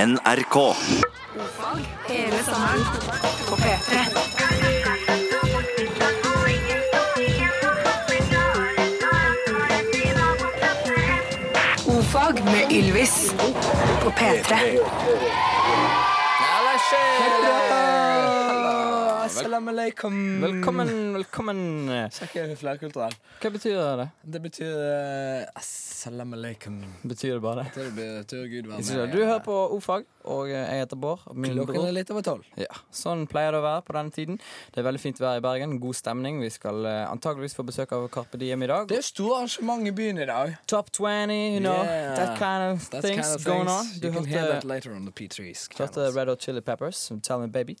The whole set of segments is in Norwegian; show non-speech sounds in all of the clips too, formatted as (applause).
NRK. Hele sommeren på P3. Ofag med Ylvis på P3. Salam aleikum. Velkommen, velkommen. Sjekk er flerkulturell. Mm. Hva betyr det? Det betyr uh, Salam aleikum. Betyr det bare det? Det betyr Gud være med. Du hører på O-fag, og eh, jeg heter Bård. og Min Klokken bror. er litt over tolv. Ja, sånn pleier det å være på denne tiden. Det er veldig fint vær i Bergen. God stemning. Vi skal eh, antageligvis få besøk av Carpe Diem i dag. Det er store arrangement i byen i dag. Top 20, you know. Yeah. That kind of That's things kind of going on. things. Du You can hear that hørte, later on the P3s. hørte Red Hot Chili Peppers, Tell Me Baby.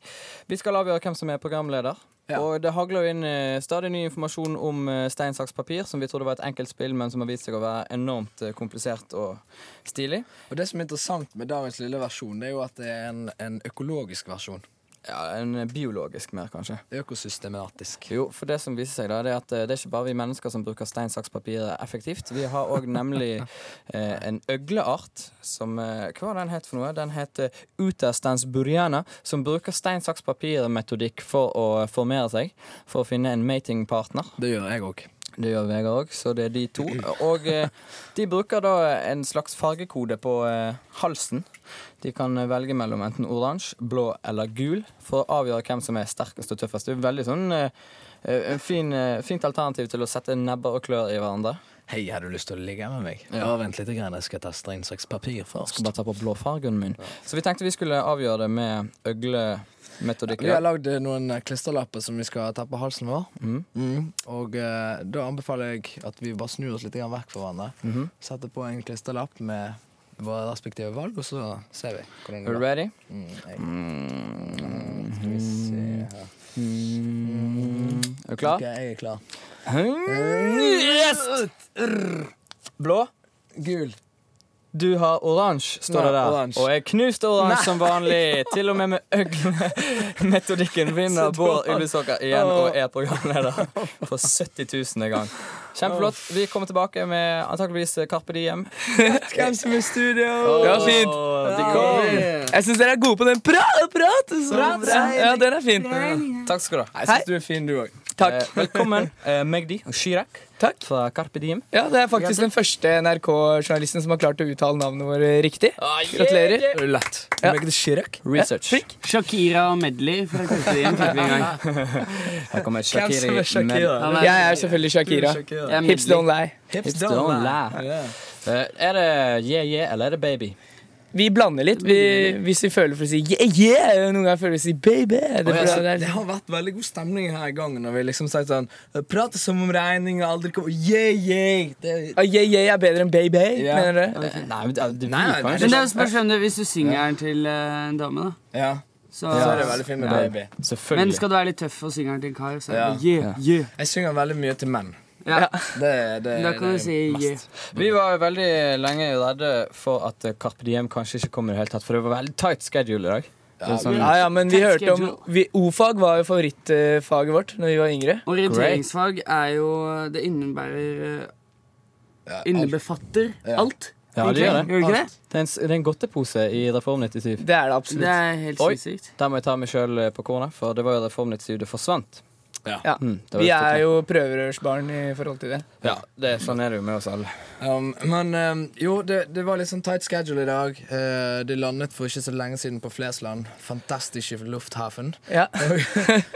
Vi skal avgjøre hvem som er programleder. Ja. Og det hagler jo inn eh, stadig ny informasjon om eh, stein, saks, papir, som vi trodde var et enkelt spill, men som har vist seg å være enormt eh, komplisert og stilig. Og det som er interessant med dagens lille versjon, det er jo at det er en, en økologisk versjon. Ja, en eh, biologisk mer, kanskje. Økosystematisk. Jo, for det som viser seg da, det er at eh, det er ikke bare vi mennesker som bruker stein, saks, papir effektivt. Vi har òg nemlig eh, en øgleart som eh, Hva var den het for noe? Den het eh, Utastans buriana, som bruker stein, saks, papir-metodikk for å formere seg. For å finne en matingpartner. Det gjør jeg òg. Det gjør Vegard òg, så det er de to. Og eh, de bruker da en slags fargekode på eh, halsen. De kan velge mellom enten oransje, blå eller gul for å avgjøre hvem som er sterkest og tøffest. Det er veldig sånn eh, en fin, eh, fint alternativ til å sette nebber og klør i hverandre. Hei, har du lyst til å ligge med meg? Ja, Vent litt, grann, jeg skal ta stein, saks, papir først. Skal bare ta på blåfargen min. Så vi tenkte vi skulle avgjøre det med øglemetodikk. Vi har lagd eh, noen eh, klisterlapper som vi skal ta på halsen vår. Mm. Og eh, da anbefaler jeg at vi bare snur oss litt grann vekk fra hverandre. Mhm. Setter på en klisterlapp med våre respektive valg, og så ser vi hvordan Er det du går. ready? Mm, jeg- Mm. Mm, Skal vi se her. Er du klar? Ok, jeg er klar. Yes! Blå. Gul. Du har oransje, står Ja, det der. oransje. Og jeg knuste oransje som vanlig. Til og med med øglemetodikken (laughs) vinner Bård Ullesåker igjen og er programleder for 70 000. gang. Kjempeflott. Vi kommer tilbake med antakeligvis Carpe Diem. Hvem som er i studio? Det var fint. Åh, de kom. Jeg syns dere er gode på den pra praten. så bra. Ja, den er fin. Takk skal du ha. Jeg syns du er fin, du òg. Takk. Eh, Velkommen, eh, Magdi og Chirag Takk. fra Carpe Diem. Ja, Det er faktisk den første NRK-journalisten som har klart å uttale navnet vårt riktig. Gratulerer. Er du lett? Ja. Make the Chirac? Research. Shakira og Medley fra (laughs) Kulturien fikk vi en gang. Her (laughs) Hvem kommer som Shakiri. er Shakira? Han Jeg er selvfølgelig Shakira. Jeg er Hips Medley. don't lie. Hips Hips don't lie. Yeah. Eh, Er det yeah, yeah eller er det baby? Vi blander litt vi, hvis vi føler for å si yeah, yeah. Noen ganger føler vi å si baby. Det, Og jeg er- sy- det det er- har vært veldig god stemning her i gangen. Når vi liksom sagt sånn Prate som om regninga aldri kommer. Yeah, yeah! Det, Ah, yeah, yeah er bedre enn baby, Ja. mener du? Eh, Nei, men det, Nei, nei, det, vi kan nei, jo Men det er jo spørsmålet hvis du synger den til eh, en dame, da. ja. Så, Så er det veldig fint med Ja. baby. Selvfølgelig. men skal du være litt tøff og synge den til en kar, så er det Ja. yeah, yeah. Jeg synger veldig mye til menn. Ja. Det, det, Da kan det du si mest. yeah. Vi var jo veldig lenge redde for at eh, Carpe Diem kanskje ikke kom i det hele tatt, for det var veldig tight schedule i dag. Det er sånn, Ja, ja, men vi Tett hørte om schedule. vi- O-fag var jo favorittfaget vårt når vi var yngre. Orienteringsfag er jo Det innebærer eh, Innebefatter Ja. alt. Ja, det egentlig. gjør det. Gjør det ikke det? det, er en, s- det er en godtepose i Reform 97. Det er det Det absolutt. er helt Oi. sinnssykt. Der må jeg ta meg sjøl på kornet, for det var jo Reform 97 det forsvant. Ja. Mm, det var Vi et stort er jo prøverørsbarn i forhold til det. Ja, det, sånn er det jo med oss alle. Um, men um, jo, det, det var litt sånn tight schedule i dag. Eh, de landet for ikke så lenge siden på Flesland. Fantastiske Lufthafen. (laughs) Ja.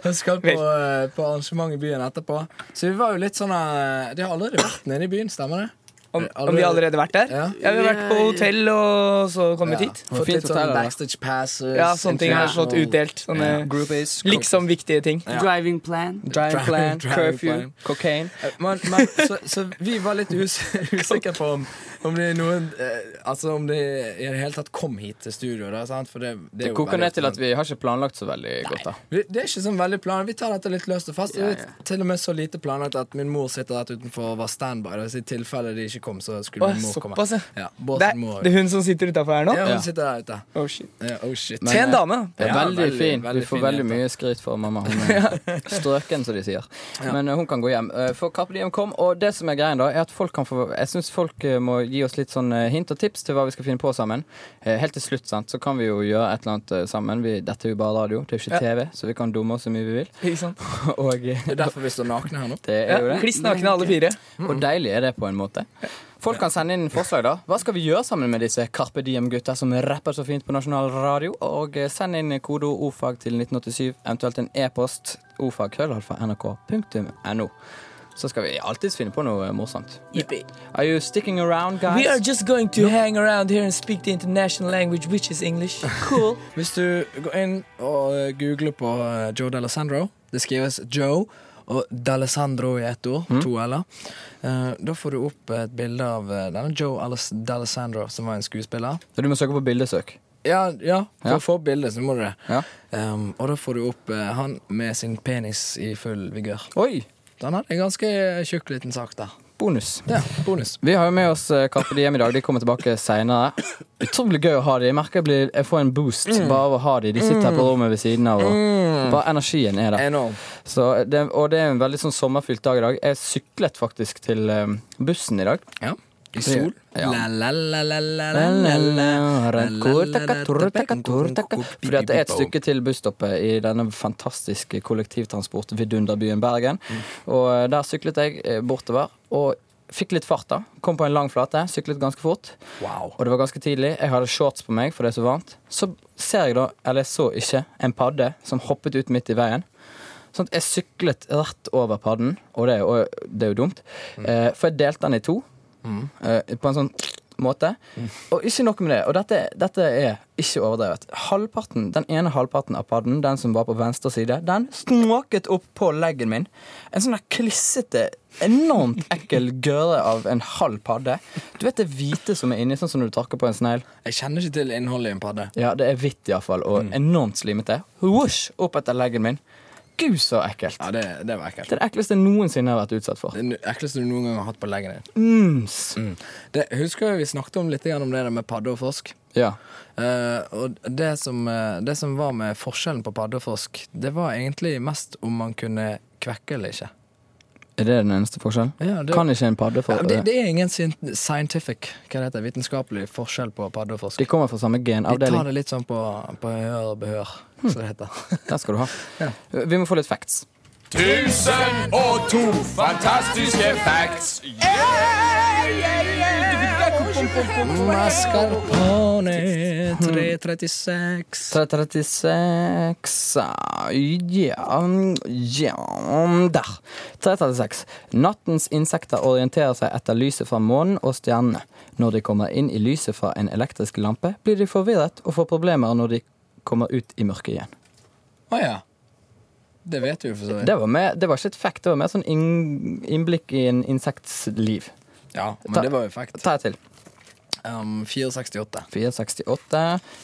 Og skal på, eh, på arrangement i byen etterpå. Så vi var jo litt sånn eh, Det har allerede vært nede i byen, stemmer det? Eh, Om, om vi har allerede vært der? Ja. Ja, vi har vært på hotell og så kommet hit. Fått Fint litt hotell, sånn da. backstage passes. Ja, sånne ting har international- fått utdelt. Sånne Groupies, liksom viktige ting. Driving plan. Giant plan, Driving curfew, plan. cocaine. Men, men, Eh, så, så vi var litt us usikre på om, om det er noen eh, Altså om det i det hele tatt kom hit til studio. Da, sant? For det, det, Det er jo koker veldig ned til ofte- at vi har ikke planlagt så veldig godt, da. Vi- Det er ikke sånn veldig plan. Vi tar dette litt løst og fast. Ja, ja. Det er Til og med så lite planlagt at min mor sitter rett utenfor og var standby. da, så I tilfelle de ikke ikke kom, så skulle Å, min mor komme. såpass, ja. Ja, Det, Båten må er- det er hun som sitter utafor her nå? Ja, Ja. hun sitter der ute. Oh, shit. Ja, oh shit. Men- Til en dame. da. Ja, Ja, veldig, veldig, fin. veldig du får fin veldig jente. mye skryt for mamma. Hun er strøken, som de sier. Men eh, hun kan gå hjem. Eh, For Carpe Diem kom, og det som er greien da, er at folk kan få Jeg syns folk eh, må gi oss litt sånn eh, hint og tips til hva vi skal finne på sammen. Eh, Helt til slutt, sant, så kan vi jo gjøre et eller annet eh, sammen. Vi, dette er jo bare radio, det er jo ikke TV, så vi kan dumme oss så mye vi vil. (laughs) Ikke sant? Og eh, Det er derfor vi står nakne her nå. det Ja, er jo det. Kliss nakne alle fire. Og deilig er det på en måte. Folk kan sende inn forslag, da. Hva skal vi gjøre sammen med disse Carpe Diem-gutta som rapper så fint på nasjonal radio? Og eh, send inn kodeord ofag til 1987, eventuelt en e-post ofag.nrk.no. Så skal vi alltids finne på noe eh, morsomt. Are you sticking around, guys? We are just going to hang around here and speak the international language, which (laughs) is English. Cool. Hvis du går inn og eh, googler på eh, Joe D'Alessandro Det skrives Joe og D'Alessandro i ett ord. To l-er. Eh, da får du opp et bilde av eh, denne Joe Alas- D'Alessandro, som var en skuespiller. Så du må søke på bildesøk. Ja, ja for Ja. å få opp bildet, så må du det. Ja. Ehm, og da får du opp eh, han med sin penis i full vigør. Oi! Han hadde en ganske tjukk liten sak der. Bonus. Ja, bonus. Vi har jo med oss eh, Carpe Diem i dag. De kommer tilbake seinere. Utrolig gøy å ha de. Jeg merker jeg, blir, jeg får en boost bare av å ha de. De sitter her på rommet ved siden av, og bare energien er der. Enorm. Så det, og det er en veldig sånn sommerfylt dag i dag. Jeg syklet faktisk til eh, bussen i dag. Ja. I sol. Ja. Fordi Fordi at det er et stykke til busstoppet i denne fantastiske kollektivtransport-vidunderbyen Bergen. Og eh, der syklet jeg eh, bortover. og Fikk litt fart, da. Kom på en lang flate, syklet ganske fort. Wow. Og det var ganske tidlig. Jeg hadde shorts på meg, for det er så varmt. Så ser jeg da, eller jeg så ikke, en padde som hoppet ut midt i veien. Sånn at jeg syklet rett over padden, og det er jo, det er jo dumt. Eh, for jeg delte den i to. Eh, på en sånn måte. Og ikke nok med det. Og dette, dette er ikke overdrevet. Halvparten, Den ene halvparten av padden, den som var på venstre side, den snåket opp på leggen min. En sånn der klissete, enormt ekkel gørre av en halv padde. Du vet det hvite som er inni, sånn som når du tråkker på en snegl? Jeg kjenner ikke til innholdet i en padde. Ja, det er hvitt iallfall, og enormt slimete. Whoosh, opp etter leggen min. Gud, så ekkelt. Ja, det, det var ekkelt. Det er det ekleste jeg noensinne har vært utsatt for. Det er det ekleste du noen gang har hatt på leggen din. Mums. Mm. Det, husker vi snakket om litt grann om det der med padde og forsk? Ja. Eh, og det som, eh, det som var med forskjellen på padde og forsk, det var egentlig mest om man kunne kvekke eller ikke. Er det den eneste forskjellen? Ja, det- Kan ikke en padde Ja, for det, det er ingen scien- scientific hva det heter, vitenskapelig forskjell på padde og forsk. De kommer fra De samme tar genavdeling. det litt sånn på, på hør og behør, som det heter. Den skal du ha. Vi må få litt facts. Tusen og to fantastiske facts. Mascarpone 336. 336 Ja, ja Der. 336. Nattens insekter orienterer seg etter lyset fra månen og stjernene. Når de kommer inn i lyset fra en elektrisk lampe, blir de forvirret og får problemer når de kommer ut i mørket igjen. Å ja. Det vet vi jo for så vidt. Det var, mer- det var ikke et fact, det var mer sånn inn, innblikk i en insekts liv. Ja, men Ta- det var jo fact. Ta et til. Um, 468. 468.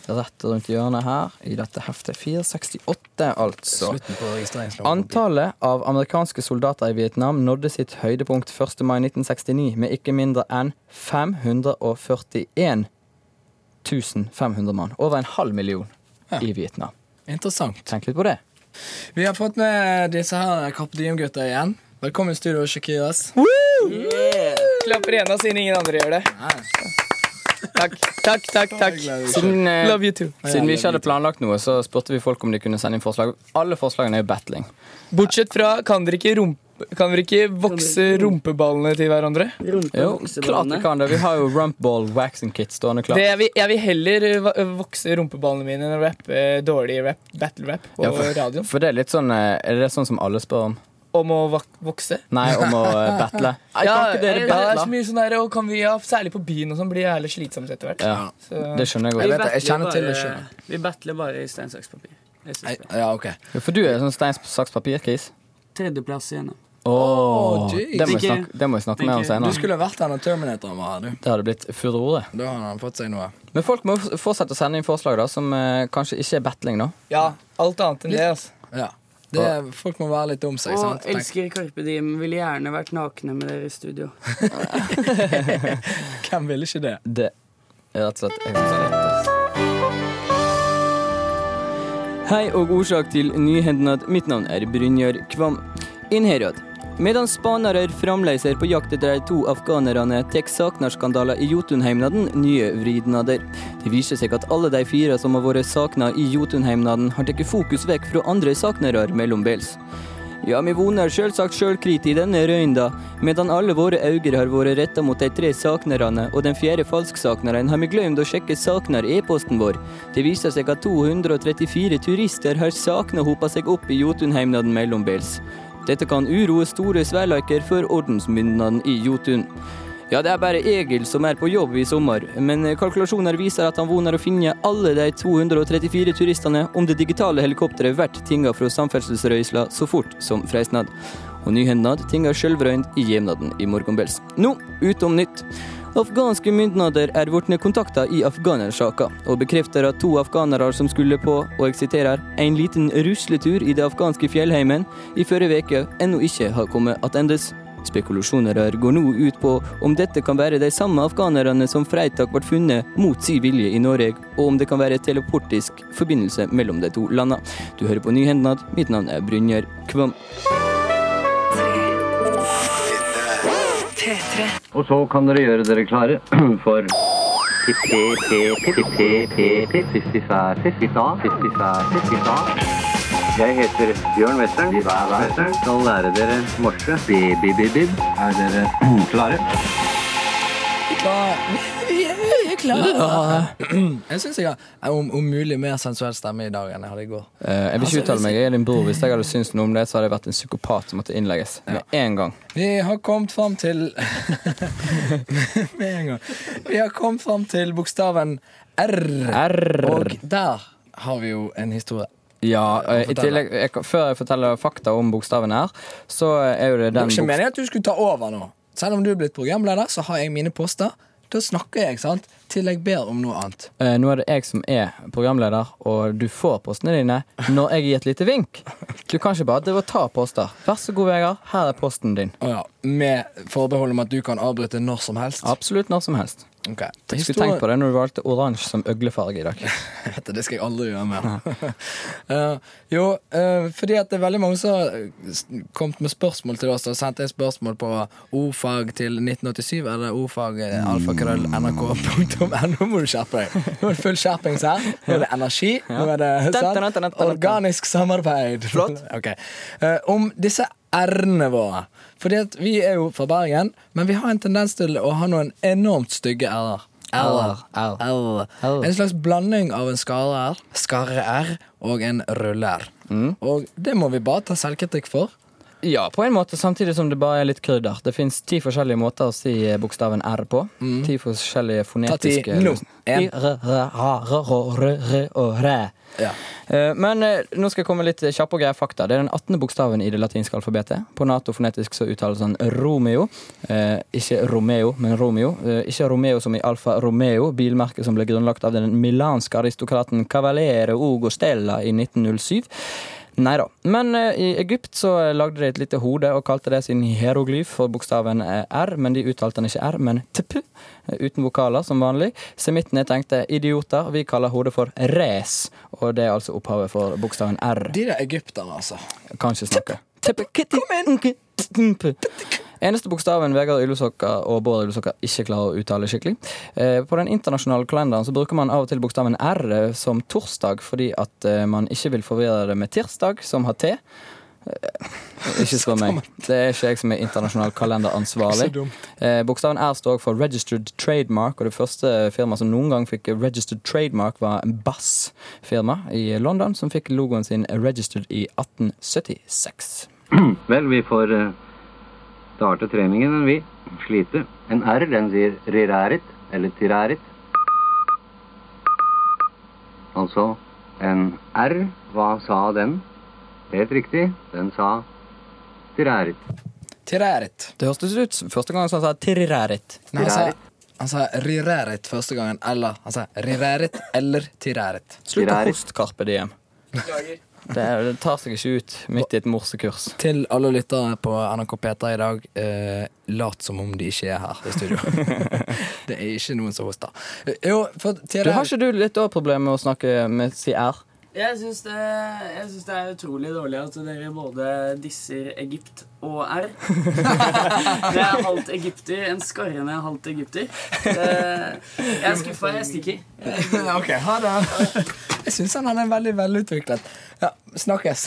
Rett rundt hjørnet her i dette heftet. 468, altså. Slutten på registreringsloven. Antallet av amerikanske soldater i Vietnam nådde sitt høydepunkt 1. mai 1969 med ikke mindre enn 541 500 mann. Over en halv million Ja. i Vietnam. Interessant. Tenk litt på det. Vi har fått med disse her Carpe Diem-gutta igjen. Velkommen i studio, Shakiras. Klapper ene siden ingen andre gjør det. Takk, takk, takk. takk. Siden, eh, Love you too. siden vi ikke hadde planlagt noe, så spurte vi folk om de kunne sende inn forslag. Alle forslagene er jo battling. Bortsett fra kan dere ikke, rumpe, kan dere ikke vokse rumpeballene til hverandre? Jo, klart vi kan det. Vi har jo rumpball waxing kit stående Det, klart. jeg, vil, jeg vil heller eh, va- vokse rumpeballene mine enn å rappe eh, dårlig rap, battle-rap på Ja, for- radioen. For det er litt sånn eh, Er det sånn som alle spør om? Om å vok- vokse. Nei, om å eh, battle. Nei, (laughs) Ja, kan ikke det, dere er så battle? mye sånn der, og kan vi, ja, Særlig på byen og sånn blir det jævlig slitsomt etter hvert. Ja, Så, det skjønner jeg godt. Jeg vet det, jeg kjenner til det selv. Vi battler bare i stein, saks, papir. Jeg synes det. Ja, ok. Ja, for du er sånn stein, saks, papir, Chris. Tredjeplass igjennom. Oh, jeez. det må jeg Tenker- snakke, det må jeg snakke mer om tenker- Du senere. skulle vært her når Terminatoren var her, du. Det hadde blitt furore. Da hadde han fått seg noe. Men folk må f- fortsette å sende inn forslag da som eh, kanskje ikke er battling. da ja, alt annet enn det, altså. Ja. Det, er- folk må være litt om seg. sant? Og Tenk- elsker Karpe Diem. Ville gjerne vært nakne med dere i studio. Hvem vil ikke det? Det er rett og slett helt sant. Hei og årsak til nyhendnad. Mitt navn er Brynjar Kvam. Inn herad. Medan spanarar framleis er på jakt etter dei to afghanerne, tek saknarskandaler i Jotunheimnaden nye vridnader. Det viser seg at alle dei fire som har vært sakna i Jotunheimnaden, har tatt fokus vekk fra andre saknarar mellombels. Ja, vi vonar sjølvsagt sjølkriti i denne røynda, medan alle våre auger har vore retta mot dei tre saknarane, og den fjerde falsksaknaren har vi gløymt å sjekke saknar-e-posten vår. Det viser seg at 234 turister har sakna hopa seg opp i Jotunheimnaden mellombels. Dette kan uroe store sveilaker for ordensmyndighetene i Jotun. Ja, det er bare Egil som er på jobb i sommer, men kalkulasjoner viser at han vonar å finne alle de 234 turistene om det digitale helikopteret vert tinga fra samferdselsrøysla så fort som freistnad. Og nyhendnad tinga sjølvrøynd i gjemnaden i morgenbels. Nå, utom nytt. Afghanske myndigheter er blitt kontakta i afghanersaka, og bekrefter at to afghanere som skulle på, og jeg siterer, en liten rusletur i det afghanske fjellheimen i forrige uke, ennå ikke har kommet attendes. Spekulasjoner her går nå ut på om dette kan være de samme afghanerne som fredag ble funnet mot sin vilje i Norge, og om det kan være teleportisk forbindelse mellom de to landene. Du hører på Nyhendnad. Mitt navn er Brynjar Kvam. P3. Og så kan dere gjøre dere klare for Jeg heter Bjørn Western. Skal lære dere morse. Bi-bi-bi-bib. Er dere klare? Jeg syns jeg har en om, om mulig mer sensuell stemme i dag enn jeg hadde i går. Eh, jeg vil ikke ikke uttale uttale meg, meg. Jeg er din bror. Altså, Hvis jeg hadde syntes noe om det, så hadde jeg vært en psykopat som måtte innlegges med en gang. Vi har kommet fram til Med en gang. Vi har kommet fram til bokstaven R. Og der har vi jo en historie. Ja, eh, i Fortell. tillegg, jeg, kan- Før jeg forteller fakta om bokstaven her, så er jo det Det den var ikke bokstaven meningen at du skulle ta over nå. Selv om du er blitt programleder, så har jeg mine poster. Da snakker jeg, sant? Til jeg ber om noe annet. Eh, Nå er det jeg som er programleder, og du får postene dine når jeg gir et lite (laughs) vink. Du kan ikke bare drive og ta poster. Vær så god, Vegard. Her er posten din. Å ja, Med forbehold om at du kan avbryte når som helst. Absolutt når som helst. Ok. Jeg skulle Historien- tenkt på det når du valgte oransje som øglefarge i dag. (laughs) Vet du, Det skal jeg aldri gjøre mer. (laughs) Eh, jo, eh, fordi at det er veldig mange som har s- kommet med spørsmål til oss og sendt inn spørsmål på ordfag til 1987 eller ordfag eh, alfakrøll Mm. nrk.no. Må du skjerpe deg. Nå er det full skjerpings her. Nå er det energi. Nå er det Ja. sant? Dun, dun, dun, dun, dun. Organisk samarbeid. Flott. (laughs) Ok. Eh, om disse r-ene våre. Fordi at vi er jo fra Bergen, men vi har en tendens til å ha noen enormt stygge r-er. R, R. R. R. R. En slags blanding av en skare R, skare R og en rulle R. Mm. Og det må vi bare ta selvkritikk for. Ja, på en måte, samtidig som det bare er litt krydder. Det fins ti forskjellige måter å si eh, bokstaven R på. Ti forskjellige fonetiske Mm. Ta ti nå. En. I, r, r, a, r, å, r, r, og ræ. Ja. Eh, Men eh, nå skal jeg komme litt kjappe og greie fakta. Det er den 18. bokstaven i det latinske alfabetet. På Nato-fonetisk så uttales han Romeo. Eh, ikke Romeo, men Romeo. Eh, ikke Romeo som i Alfa Romeo, bilmerket som ble grunnlagt av den milanske aristokraten Cavalere Ugo Stella i 1907. Nei da. Men eh, i Egypt så lagde de et lite hode og kalte det sin hieroglyf for bokstaven eh, R, men de uttalte den ikke R, men tp, eh, uten vokaler som vanlig. Semittene tenkte idioter, vi kaller hodet for res, og det er altså opphavet for bokstaven R. De der egypterne, altså. Kan ikke snakke. Eneste bokstaven Vegard Ullesokka og Bård Ullesokka ikke klarer å uttale skikkelig. Eh, På den internasjonale kalenderen så bruker man av og til bokstaven R eh, som torsdag, fordi at eh, man ikke vil forvirre det med tirsdag, som har T. Eh, Ikke spør meg. Det er ikke jeg som er internasjonal kalenderansvarlig. Eh, Bokstaven R står for Registered Trademark, og det første firmaet som noen gang fikk Registered Trademark, var Bass-firma i London, som fikk logoen sin Registered i 1876. Vel, vi får eh, starte treningen, men vi sliter. En R, den sier rirærit, eller tirærit. Altså en R. Hva sa den? Helt riktig, den sa tirærit. Tirerit. Det hørtes ut som første gang han sa sånn tirrerit. Nei, han sa, han sa rirerit første gangen, eller han sa rirerit eller tirerit. Slutt å Tirrerit. hoste, Carpe Diem. Det, er- det tar seg ikke ut midt i et morsekurs. Til alle lyttere på NRK Peter i dag, eh, lat som om de ikke er her i (laughs) studio. det er ikke noen som hoster. Eh, Jo, for Du Tede Har ikke du litt òg problemer med å snakke med si R? Jeg syns det, jeg synes det er utrolig dårlig at dere både disser Egypt og (laughs) R. Jeg er halvt egypter, en skarrende halvt egypter. Eh, Jeg er skuffa, jeg stikker. Ok, ha det. (laughs) Jeg syns han hadde en veldig velutviklet Ja, snakkes.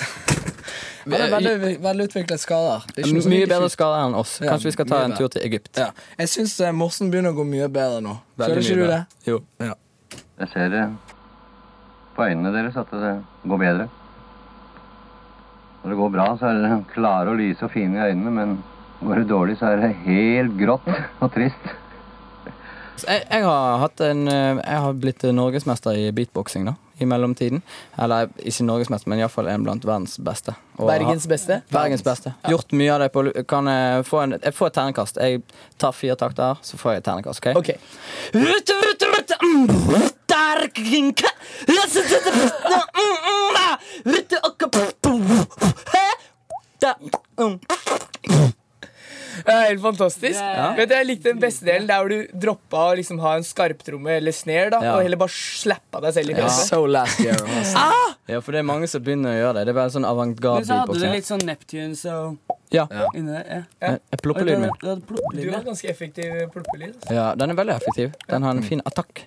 Han er veldig velutviklet skader. Det er ikke noe som Mye ikke- bedre skada enn oss. Ja, Kanskje vi skal ta mye en bedre. tur til Egypt. Ja. Jeg syns eh, Morsen begynner å gå mye bedre nå. Føler Veldig ikke mye du bedre. det? Jo. Ja. Jeg ser det på øynene deres at det går bedre. Når det går bra, så er dere klare og lyse og fine i øynene, men går det dårlig, så er det helt grått og trist. Så Jeg, jeg, har hatt en, eh, jeg har blitt norgesmester i beatboxing da, i mellomtiden. Eller ikke norgesmester, men iallfall en blant verdens beste. Og Bergens har- beste? Bergens beste. Gjort mye av det på lu- Kan jeg få, en, jeg får et ternekast. Jeg tar fire takter, så får jeg et ternekast. OK? Ok. Det er helt fantastisk. Vet du, Jeg likte den beste delen der hvor du droppa å liksom ha en skarptromme eller snare, da, Ja. og heller bare slappa deg selv i fjeset. So last year. (laughs) altså. Ja, for det er mange som begynner å gjøre det. Det er bare sånn avantgarde Men så hadde du beatboxing. litt sånn Neptune så Ja. inni der. Ja. Jeg jeg plopper lyden min. Du hadde Du plukkelyd, har ja. ganske effektiv pluppelyd. altså. Ja, den er veldig effektiv. Den har en fin attakk.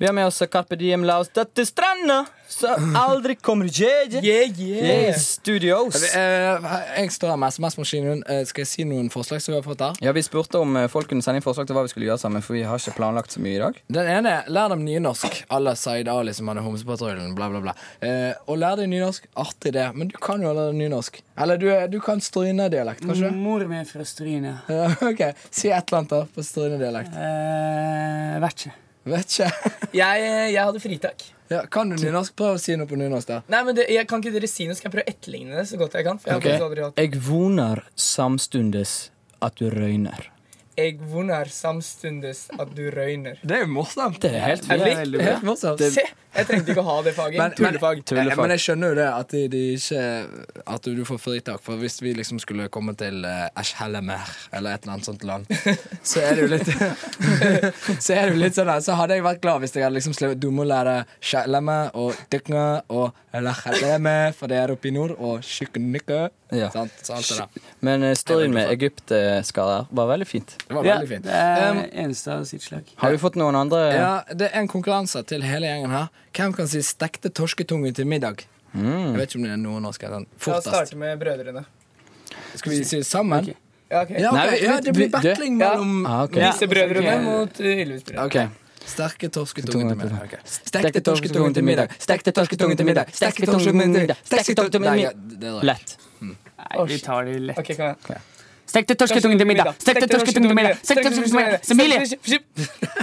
Vi har med oss Carpe Diem Laos Dette stranda, så aldri kommer jeg. Yeah, yeah. Yeah, Studios. Eh, Jeg står her med SMS-maskinen. Eh, Skal jeg si noen forslag som vi har fått her? Ja, Vi spurte om eh, folk kunne sende inn forslag til hva vi skulle gjøre sammen, for vi har ikke planlagt så mye i dag. Den ene er lær dem nynorsk. Alle Zaid Ali som hadde Homsepatruljen, bla, bla, bla. Eh, og lær deg nynorsk. Artig, det. Men du kan jo allerede nynorsk. Eller du, er- du kan strynedialekt, kanskje? Mor mi er fra Stryne. Ja, Eh, (laughs) ok, Si et eller annet da på strynedialekt. Eh, Vertskje. Vet ikke. (laughs) Jeg, jeg hadde fritak. Ja, kan du nynorsk? Prøv å si noe på nynorsk. da Nei, men det, jeg, Kan ikke dere si noe? Skal jeg prøve å etterligne det så godt jeg kan? For jeg har faktisk aldri hatt Jeg voner samstundes at du røyner. Jeg voner samstundes at du røyner. Det er jo morsomt. Det er helt Er fint. det likt? Helt morsomt. Se! Jeg trengte ikke å ha det faget. Men- Tullefag. Eh, Men jeg skjønner jo det at, de, de ikke, at du får fritak. For hvis vi liksom skulle komme til eh, Ashelemer eller et eller annet sånt land, så er det jo litt (laughs) Så er det jo litt sånn der, Så hadde jeg vært glad hvis jeg hadde liksom slevet Du må lære Sheleme og Dykne og Lacheleme, for det er oppe i nord, og Skykkenikke. Ja. Sant? Så alt det der. Men eh, storyen med Egypt-skader var veldig fint. Det var Ja, veldig det fint. Um, er eneste av sitt slag. Har vi fått noen andre? Ja, Det er en konkurranse til hele gjengen her. Hvem kan si 'stekte torsketunge til middag'? Mm. Jeg vet ikke om det er noe norsk. eller sånn. La oss Fortest. starte med brødrene. Skal vi si det sammen? Ja, ok. Ja, ok. Nei, vi- ja, det blir vi- du- battling ja. mellom Ah, ok. Nisebrødrene mot uh, Ylvis-brødrene. Ok. Sterke torsketunge til middag. Ok. Stekte torsketunge til middag. Stekte torsketunge til middag. Stekte torsketunge til middag. Stekte torsketunge til middag. Nei, ja, det- det er rett. Lett. Nei, vi tar det lett. Ok, kom igjen. Stekte torsketungen til middag! Stekte torsketungen til middag! Stekte torsketungen til middag! Semilie!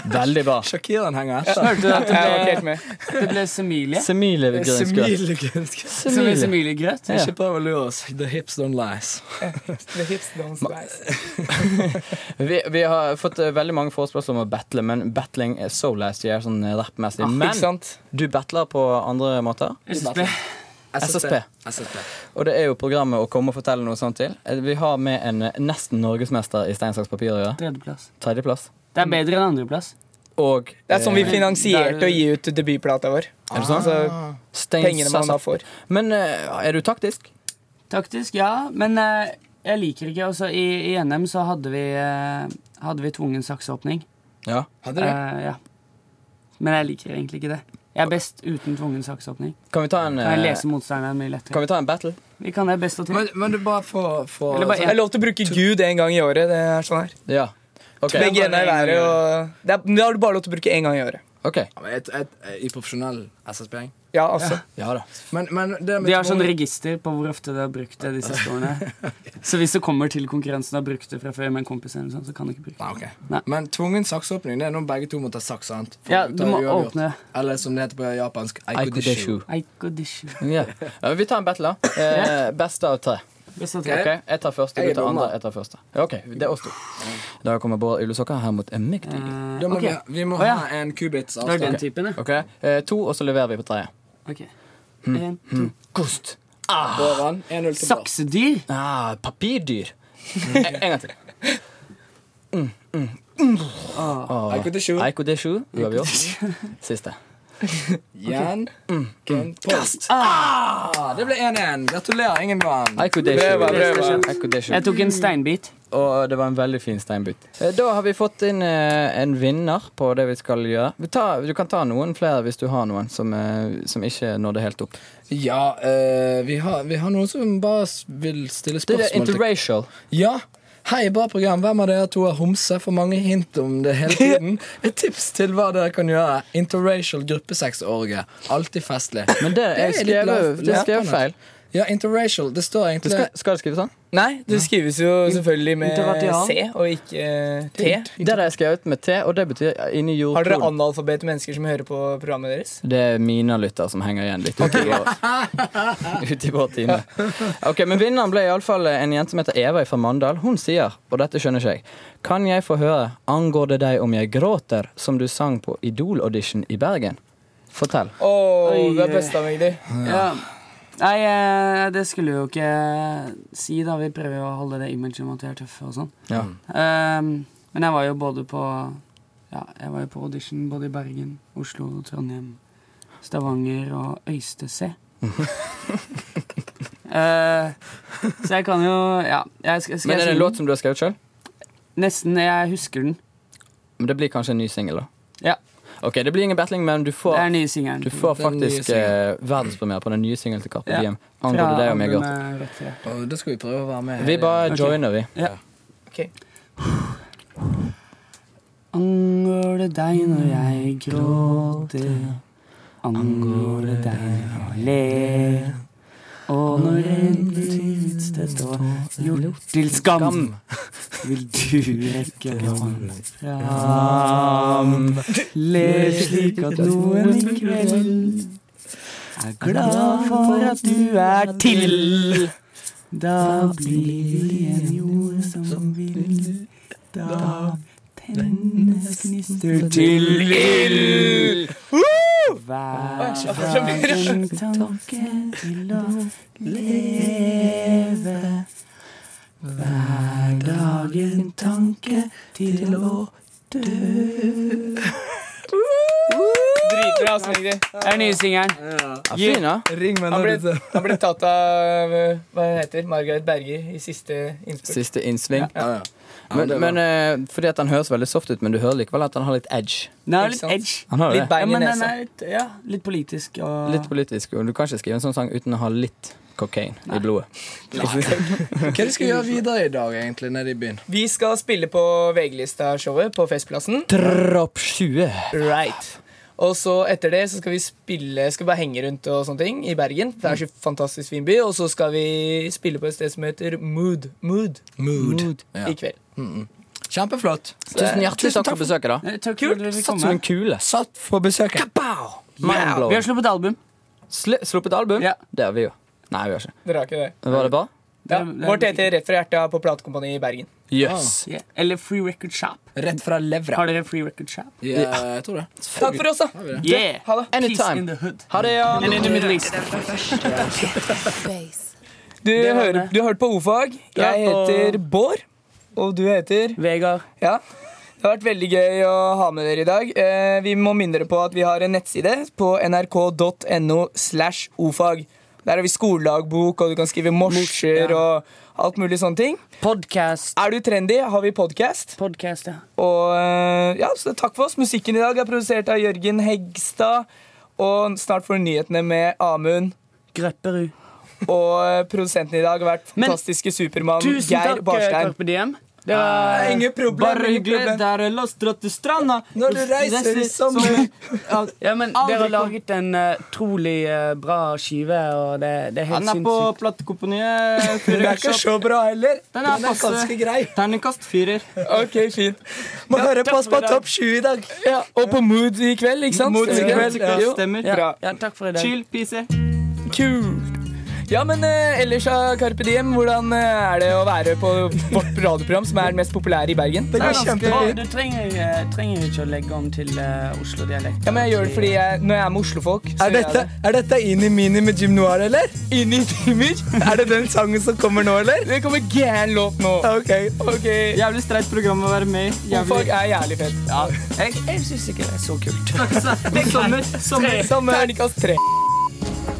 Veldig bra. Shakiran henger etter. Hørte du at det Jeg var ble, ikke helt med. det ble semilie? Semilegrynsgrøt. Semilegrønsk. Det ble semiliegrøt. Ja. Ikke prøv å lure oss. The hips don't lies. The hips don't slice. Vi, vi har fått eh, veldig mange forespørsler om å battle, men battling er so last year, sånn eh, rappmessig. Ah, Ikke Men sant? du battler på andre måter. SSB. SSB. SSB. Og det er jo programmet å komme og fortelle noe sånt til. Eh, Vi har med en eh, nesten norgesmester i stein, saks, papir å gjøre. Tredjeplass. Tredjeplass. Det er bedre enn andreplass. Og Det er sånn vi eh, finansierte å gi ut debutplata vår. Er det sånn? Altså, Stein, pengene man saks- da får. Men eh, er du taktisk? Taktisk, ja. Men eh, jeg liker ikke altså, i, I NM så hadde vi, eh, hadde vi tvungen sakseåpning. Ja. Hadde du? Eh, ja. Men jeg liker egentlig ikke det. Jeg er best uten tvungen sakseåpning. Kan vi ta en, Kan jeg eh, lese motstanderen mye kan lettere? vi ta en battle? Vi kan det best av Men, til. men du bare får for, Eller Det bare er lov til å bruke Gud en gang i året. Det er sånn her. Ja. Ok. Begge hendene i været. og- Det er- Da har du bare lov til å bruke én gang i året. Ok. et, et, I profesjonell SSB-gjeng. Ja, altså. Ja da. Men, men det med De har sånn tvungen- register på hvor ofte de har brukt det de siste årene. Så hvis det kommer til konkurransen og har brukt det fra før med en kompis, eller sånn, så kan du ikke bruke det. Nei, Ah, ok. Nei. Men tvungen saksåpning det er når begge to må ta saks. sant? For Ja, å du ta må uavgjort. åpne. Eller som det heter på japansk, aikodishu. Aikodeshu. Aikodishu. Ja. Ja, Vi tar en (laughs) battle, da. Eh, beste av tre. Best av Ok, tre. Jeg tar første, Jeg du er tar dommer. andre, jeg tar første. Ja, Ok, Det er oss to. Da kommer Bård Ulesokker her mot en mektig. Eh, Eh, Da må Ok, vi, vi må Å, ja. ha en kubits Det er avstand. den typen, ja. Ok, eh, To, og så leverer vi på tredje. Ok. En, to. Kost. Ovan. 1-0 til Brann. Saksedyr. Ah, papirdyr. Mm. En en gang til. Mm, Ah. Eiko til sju. Eiko D7, uavgjort. Siste. Jan Mm. Kast. Ah, det ble 1-1. Gratulerer, ingen vant. Eiko D7. Prøva, prøva. Eiko D7. Jeg tok en steinbit. Og det var en veldig fin steinbit. Eh, Da har vi fått inn eh, en vinner på det vi skal gjøre. Vi tar, du kan ta noen flere hvis du har noen som, eh, som ikke nådde helt opp. Ja, eh, vi, har, vi har noen som bare s- vil stille Det er spørsmål til interracial. Ja. Hei, bra program. Hvem av dere to er homse? For mange hint om det hele (laughs) tiden. Et tips til hva dere kan gjøre. Interracial gruppesexorgie. Alltid festlig. Men det er litt lav- skrevet, det er skrevet lavpannet. feil. Ja, interracial. Det står Det egentlig skal, skal det skrives sånn? Nei, det skrives jo selvfølgelig med Intervertial. C og ikke eh, T. Det der er skrevet med T, og det betyr inni Har dere jordkloden. analfabete mennesker som hører på programmet deres? Det er mine lyttere som henger igjen litt uti vår, ut i vår time. Ok, Men vinneren ble iallfall en jente som heter Eva fra Mandal. Hun sier, og dette skjønner ikke jeg Kan jeg få høre 'Angår det deg om jeg gråter', som du sang på Idol-audition i Bergen? Fortell. Å, Oi, du er oi. best av meg, du. Ja. Nei, eh, det skulle jeg jo ikke si, da. Vi prøver jo å holde det imaget om at vi er tøffe og sånn. Ja. Ehm, men jeg var jo både på Ja, jeg var jo på audition både i Bergen, Oslo, Trondheim, Stavanger og (laughs) Øystese. Eh, så jeg kan jo Ja. Jeg skal, skal Men jeg er det si en den? låt som du har skrevet sjøl? Nesten. Jeg husker den. Men det blir kanskje en ny singel, da. Ja, Ok, det blir ingen battling, men du Det er får, den nye singelen. du får Den nye faktisk eh, singelen. verdenspremiere på den nye singelen til Karpe Ja. Diem. 'Angår det deg om jeg gråter'. albumet rett før. Og da skal vi prøve å være med. Vi bare eh, Ok. joiner, vi. Angår det deg når jeg gråter? Angår det deg når jeg ler? Og når intet og gjort til skam, vil du rekke hånden fram. Ler slik at noen i kveld er glad for at du er til. Da blir vi en jord som vil. Da tennes gnister til ild. Hver dag en tanke til å leve. Hver dag en tanke til å Dritbra, Smeggdi. Det er nye singelen. Ja, fin, da. Ring meg Han når ble, du ser. han ble tatt av eh, hva heter Margaret Berger i siste innspurt. Siste innsving. Ja, ja. Ja, Men, det var- men eh, fordi at han høres veldig soft ut, men du hører likevel at han har litt edge. Den er Ikke litt sant? edge. Han har jo det. Litt Ja, bein i men den nesa. er litt, ja, litt politisk og Litt politisk, og du kan ikke skrive en sånn sang uten å ha litt kokain i blodet. Hva er det skal vi gjøre videre i dag, egentlig, nede i byen? Vi skal spille på VG-lista-showet på Festplassen. Dropp 20. Right. Og så etter det så skal vi spille Skal bare henge rundt og sånne ting i Bergen. Det er så fantastisk fin by. Og så skal vi spille på et sted som heter Mood. Mood Mood. Ja. i kveld. Kjempeflott. Eh, Tusen hjertelig takk for besøket, da. Eh, Takk for at dere fikk Satt som komme. en kule. Satt for besøket. Vi har Mindblown. sluppet album. Sl- Sluppet album? Ja. Det har vi jo. Nei, vi har ikke. Dere har ikke det? Var det bra? Det Ja. er- det er- Vårt heter Rett fra hjertet på platekompani i Bergen. Jøss. Ja, Eller Free Record Shop. Rett fra levra. Har dere Free Record Shop? Ja, eh, jeg tror det. Takk for oss, da. Yeah! Ha Peace det. Anytime. in the hood. Ha det, ja. And in the Middle East. Du, var hører, det. du har hørt på O-fag. Jeg Ja, og- heter Bård. Og du heter Vegard. Ja. Det har vært veldig gøy å ha med dere i dag. Eh, vi må minne dere på at vi har en nettside på nrk.no slash ofag. Der har vi skoledagbok, og du kan skrive morser og alt mulig sånne ting. Podcast. Er du trendy, har vi podkast. Podcast, ja. Og eh, ja, så takk for oss. Musikken i dag er produsert av Jørgen Hegstad. Og snart får du nyhetene med Amund. Grøpperud. Og eh, produsenten i dag har vært Men- fantastiske Supermann Tusen Geir takk, eh, Barstein. Carpe Diem. Det var ingen problem, Bare ingen hyggelig. problem. Der er Lostra til stranda. Når du reiser i sommer. Ja, men Dere har laget en eh, utrolig eh, bra skive, og det, det er helt Han er på sinnssykt. platekompaniet. Den er ikke så bra heller. Den er passe. grei. Terningkast firer. Ok, fint. Må høre på oss på Topp 7 i dag. Ja, Og på Mood i kveld, ikke sant? Mood i Stemmer det? kveld, ja. Jo, Stemmer. Bra. Ja, takk for i dag. Chill, pise. Kult. Ja, men eh, ellers, eh, Carpe Diem, hvordan eh, er det å være på vårt radioprogram, som er det mest populære i Bergen? Det er ganske, du trenger, eh, trenger ikke å legge om til eh, Oslo-dialekt. Ja, men jeg gjør det fordi jeg, når jeg er med Oslofolk så Er gjør jeg dette, er dette Inni Mini med Jim Noir, eller? det. Inni timer? Er det den sangen som kommer nå, eller? Det kommer gæren låt nå. Ok. Ok, Jævlig streit program å være med i. Folk Jævlig. er jævlig fett. Ja. Jeg, jeg syns ikke det er så kult. Sommer. Sommer. Samme terningkast tre.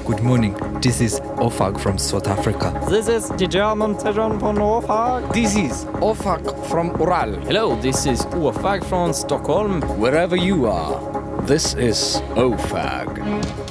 Good morning. This is Ofag from South Africa. This is the German Tejan på Nordfag. This is Ofag from Oral. Hello, this is Åfag fra Stockholm. Wherever you are, this is Ofag.